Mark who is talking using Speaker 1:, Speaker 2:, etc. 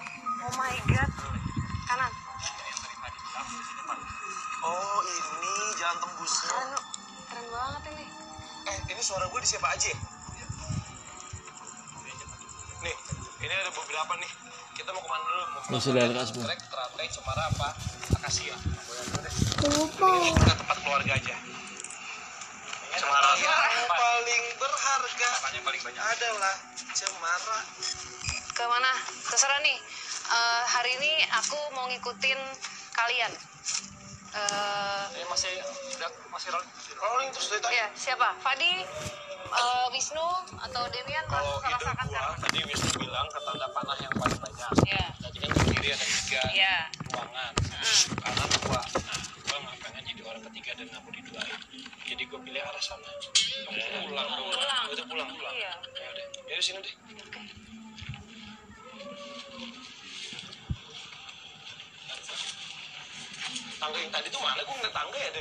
Speaker 1: Oh,
Speaker 2: Eh,
Speaker 1: suara gue di siapa aja ya? Nih, ini ada beberapa nih. Kita mau kemana dulu? Mau
Speaker 3: Ini sudah lekas semua.
Speaker 1: Trek, Teratai, Cemara, apa? Akasia.
Speaker 4: Lupa.
Speaker 1: Kita tempat keluarga aja. Cemara.
Speaker 2: yang paling berharga
Speaker 1: Makanya paling banyak.
Speaker 2: adalah cemara
Speaker 5: ke mana terserah nih Eh, hari ini aku mau ngikutin kalian Eh,
Speaker 1: Eh, masih masih rolling.
Speaker 2: rolling terus dari tadi
Speaker 5: ya siapa Fadi eh, Wisnu atau Demian
Speaker 1: Kalau
Speaker 5: ras-
Speaker 1: itu
Speaker 5: rasakan
Speaker 1: gua
Speaker 5: kan
Speaker 1: tadi Wisnu bilang ketanda panah yang paling banyak.
Speaker 5: ya
Speaker 1: Tadi kan di kiri ada tiga
Speaker 5: ya Hmm.
Speaker 1: ruangan. Kanan gua. Nah, gua nggak pengen jadi orang ketiga dan nggak mau diduain. Jadi gua pilih arah sana. Kamu pulang dong.
Speaker 5: Pulang.
Speaker 1: Udah pulang pulang.
Speaker 5: Iya.
Speaker 1: Ya udah. Ya di sini deh. Tangga yang tadi tuh mana? Gua ngeliat tangga ya
Speaker 5: gitu